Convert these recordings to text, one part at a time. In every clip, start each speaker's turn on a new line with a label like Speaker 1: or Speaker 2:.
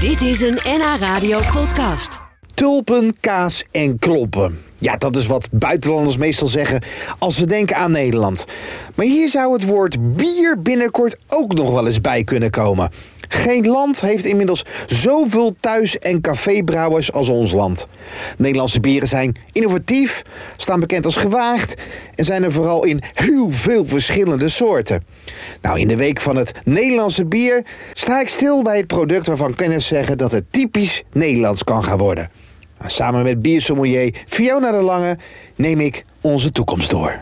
Speaker 1: Dit is een NH Radio podcast.
Speaker 2: Tulpen, kaas en kloppen. Ja, dat is wat buitenlanders meestal zeggen als ze denken aan Nederland. Maar hier zou het woord bier binnenkort ook nog wel eens bij kunnen komen. Geen land heeft inmiddels zoveel thuis- en cafébrouwers als ons land. Nederlandse bieren zijn innovatief, staan bekend als gewaagd en zijn er vooral in heel veel verschillende soorten. Nou, in de week van het Nederlandse bier sta ik stil bij het product waarvan kennis zeggen dat het typisch Nederlands kan gaan worden. Nou, Samen met biersommelier Fiona de Lange neem ik onze toekomst door.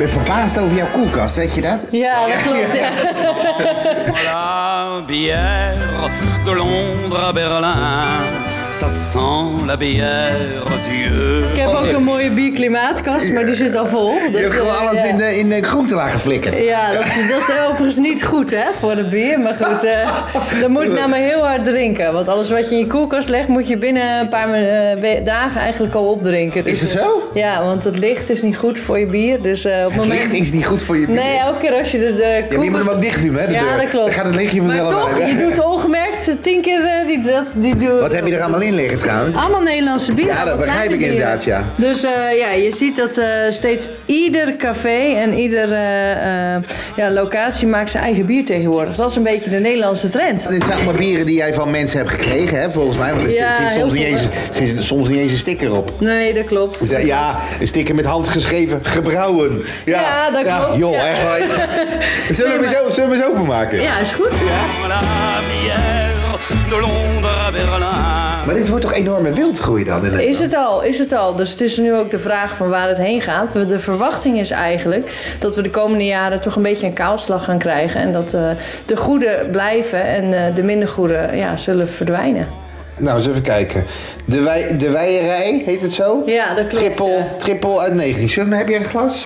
Speaker 2: Ik ben verbaasd over jouw koelkast, weet je dat?
Speaker 3: Ja, dat klopt. ja.
Speaker 4: La bière de Londres à Berlin, ça sent la bière Dieu.
Speaker 3: Ik heb ook een mooie bierklimaatkast, maar die zit al vol. Dus,
Speaker 2: Je hebt gewoon
Speaker 3: eh,
Speaker 2: alles
Speaker 3: ja.
Speaker 2: in de, in de groentelaag geflikkerd.
Speaker 3: Ja, dat, is- dat is overigens niet goed hè, voor de bier. Maar goed, eh, dan moet ik namelijk heel hard drinken. Want alles wat je in je koelkast legt, moet je binnen een paar eh, we- dagen eigenlijk al opdrinken. Dus,
Speaker 2: Is het
Speaker 3: eh,
Speaker 2: zo?
Speaker 3: Ja, want het licht is niet goed voor je bier. Dus eh, op het
Speaker 2: Het
Speaker 3: moment...
Speaker 2: licht is niet goed voor je bier.
Speaker 3: Nee, elke keer als je de, de
Speaker 2: ja, maar je moet hem ook dicht doen, hè, de
Speaker 3: ja,
Speaker 2: deur.
Speaker 3: dat klopt.
Speaker 2: Dan gaat het lichtje
Speaker 3: maar
Speaker 2: vanzelf
Speaker 3: toch,
Speaker 2: uit.
Speaker 3: je doet ongemerkt tien keer eh, die, dat, die, die,
Speaker 2: Wat heb je er allemaal in liggen trouwens?
Speaker 3: Allemaal Nederlandse bieren.
Speaker 2: Ja, dat
Speaker 3: allemaal
Speaker 2: begrijp
Speaker 3: kleine
Speaker 2: ik inderdaad,
Speaker 3: bieren.
Speaker 2: ja.
Speaker 3: Dus eh, ja, je ziet dat eh, steeds ieder café en ieder eh, eh, ja, locatie maakt zijn eigen bier tegenwoordig. Dat is een beetje de Nederlandse trend.
Speaker 2: Dit zijn allemaal bieren die jij van mensen hebt gekregen, hè, volgens mij. Want er zit-
Speaker 3: Ja,
Speaker 2: zit
Speaker 3: heel
Speaker 2: soms, niet
Speaker 3: veel,
Speaker 2: eens, er zit soms niet eens een sticker op.
Speaker 3: Nee, dat klopt.
Speaker 2: Dus, eh, Ja, een sticker met handgeschreven gebrouwen. Ja,
Speaker 3: Ja, dat klopt,
Speaker 2: Joh,
Speaker 3: ja.
Speaker 2: echt waar. Zullen we
Speaker 3: Nee,
Speaker 2: zo- zullen we eens openmaken?
Speaker 3: Ja, is goed.
Speaker 4: La bière de Londres à Berlin.
Speaker 2: Maar dit wordt toch enorme wildgroei dan? in
Speaker 3: Is
Speaker 2: Nederland?
Speaker 3: het al, is het al. Dus het is nu ook de vraag van waar het heen gaat. We- De verwachting is eigenlijk dat we de komende jaren toch een beetje een kaalslag gaan krijgen. En dat eh, de goede blijven en eh, de minder goede ja, zullen verdwijnen.
Speaker 2: Nou, eens even kijken. De, wij, de Weierij, heet het zo?
Speaker 3: Ja, dat klopt,
Speaker 2: Triple,
Speaker 3: ja.
Speaker 2: triple uit 19. Zullen we- heb jij een glas?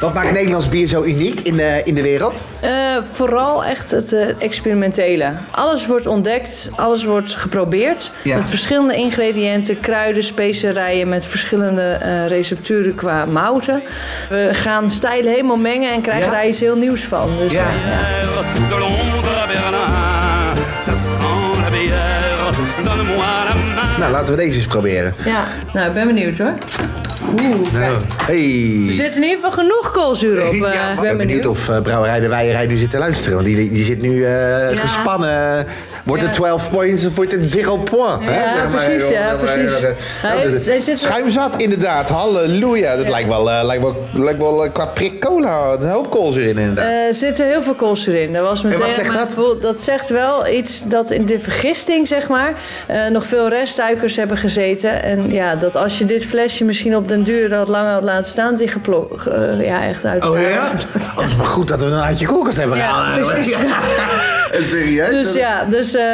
Speaker 2: Wat maakt Nederlands bier zo uniek in de, in de wereld?
Speaker 3: Eh, vooral echt het eh, experimentele. Alles wordt ontdekt, alles wordt geprobeerd.
Speaker 2: Ja.
Speaker 3: Met verschillende ingrediënten, kruiden, specerijen, met verschillende eh, recepturen qua mouten. We gaan stijlen helemaal mengen en krijgen
Speaker 2: Ja?
Speaker 3: daar iets heel nieuws van. Dus,
Speaker 2: Ja.
Speaker 3: eh,
Speaker 4: Bière de Londres à Berlin, ça sent la bière. Donne-moi la main.
Speaker 2: Nou, laten we deze eens proberen.
Speaker 3: ja, nou ik ben benieuwd hoor. Oeh, kijk.
Speaker 2: Hey.
Speaker 3: Er zit in ieder geval genoeg koolzuur op. eh,
Speaker 2: Ja,
Speaker 3: ik ben benieuwd.
Speaker 2: of eh, Brouwerij de Weierij nu zit te luisteren. Want die, die zit nu eh, gespannen. Wordt het
Speaker 3: Ja.
Speaker 2: 12 points of wordt het 0 point? hè?
Speaker 3: Ja,
Speaker 2: Zeg maar,
Speaker 3: precies,
Speaker 2: joh,
Speaker 3: ja,
Speaker 2: zeg maar,
Speaker 3: precies.
Speaker 2: joh, eh,
Speaker 3: Hij
Speaker 2: zo,
Speaker 3: heeft-
Speaker 2: eh,
Speaker 3: hij zit-
Speaker 2: Schuimzat inderdaad, halleluja. Dat lijkt wel, eh, lijkt wel, lijkt wel eh, qua prik cola een hoop koolzuur in inderdaad.
Speaker 3: Eh, zit er heel veel koolzuur in. Dat was meteen,
Speaker 2: wat zegt
Speaker 3: maar
Speaker 2: dat?
Speaker 3: bijvoorbeeld, Dat zegt wel iets dat in de vergisting, zeg maar, eh, nog veel restsuikers hebben gezeten. En ja, dat als je dit flesje misschien op den duur wat langer had laten staan, die geplok, eh, ja, echt uit
Speaker 2: Oh
Speaker 3: elkaar
Speaker 2: ja?
Speaker 3: was.
Speaker 2: Oh, is maar goed dat we een uit je koelkast hebben
Speaker 3: Ja,
Speaker 2: gehaald.
Speaker 3: precies.
Speaker 2: Serieus?
Speaker 3: Dus ja, dus, eh,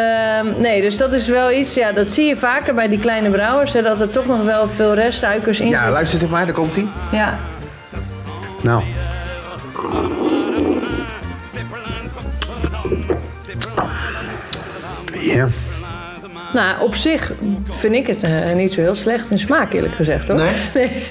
Speaker 3: nee, dus dat is wel iets, ja, dat zie je vaker bij die kleine brouwers, hè, dat er toch nog wel veel restsuikers in
Speaker 2: Ja,
Speaker 3: zitten.
Speaker 2: luister het maar, daar komt hij.
Speaker 3: Ja.
Speaker 2: Nou. Ja.
Speaker 3: Nou, op zich vind ik het eh, niet zo heel slecht in smaak, eerlijk gezegd, hoor.
Speaker 2: Nee?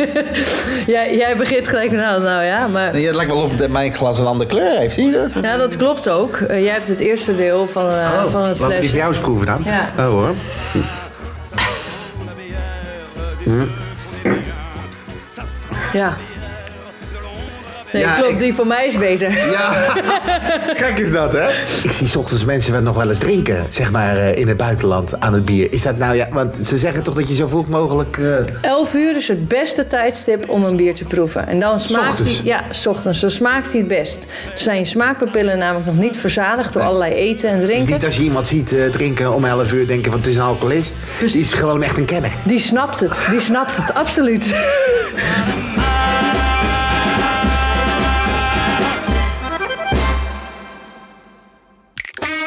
Speaker 3: jij, jij begint gelijk, nou, nou ja, maar...
Speaker 2: Nee, het lijkt wel of de- mijn glas een andere kleur heeft, zie je dat?
Speaker 3: Ja, dat klopt ook. Eh, jij hebt het eerste deel van, eh,
Speaker 2: Oh,
Speaker 3: van het
Speaker 2: laten we die
Speaker 3: flesje.
Speaker 2: voor jou eens proeven dan.
Speaker 3: Ja.
Speaker 2: Oh hoor.
Speaker 3: Ja. Nee,
Speaker 2: Ja,
Speaker 3: klopt.
Speaker 2: ik-
Speaker 3: Die voor mij is beter.
Speaker 2: Ja, gek is dat hè? Ik zie 's ochtends mensen wat nog wel eens drinken, zeg maar eh, in het buitenland aan het bier. Is dat nou ja, want ze zeggen toch dat je zo vroeg mogelijk... eh,
Speaker 3: 11 uur is het beste tijdstip om een bier te proeven. En dan smaakt
Speaker 2: Ochtends?
Speaker 3: hij... Ja, 's ochtends. Dan smaakt hij het best. Zijn je smaakpapillen namelijk nog niet verzadigd door allerlei eten en drinken.
Speaker 2: Niet als je iemand ziet eh, drinken om 11 uur denken van het is een alcoholist. Die is gewoon echt een kenner.
Speaker 3: Die snapt het. Die snapt het, absoluut.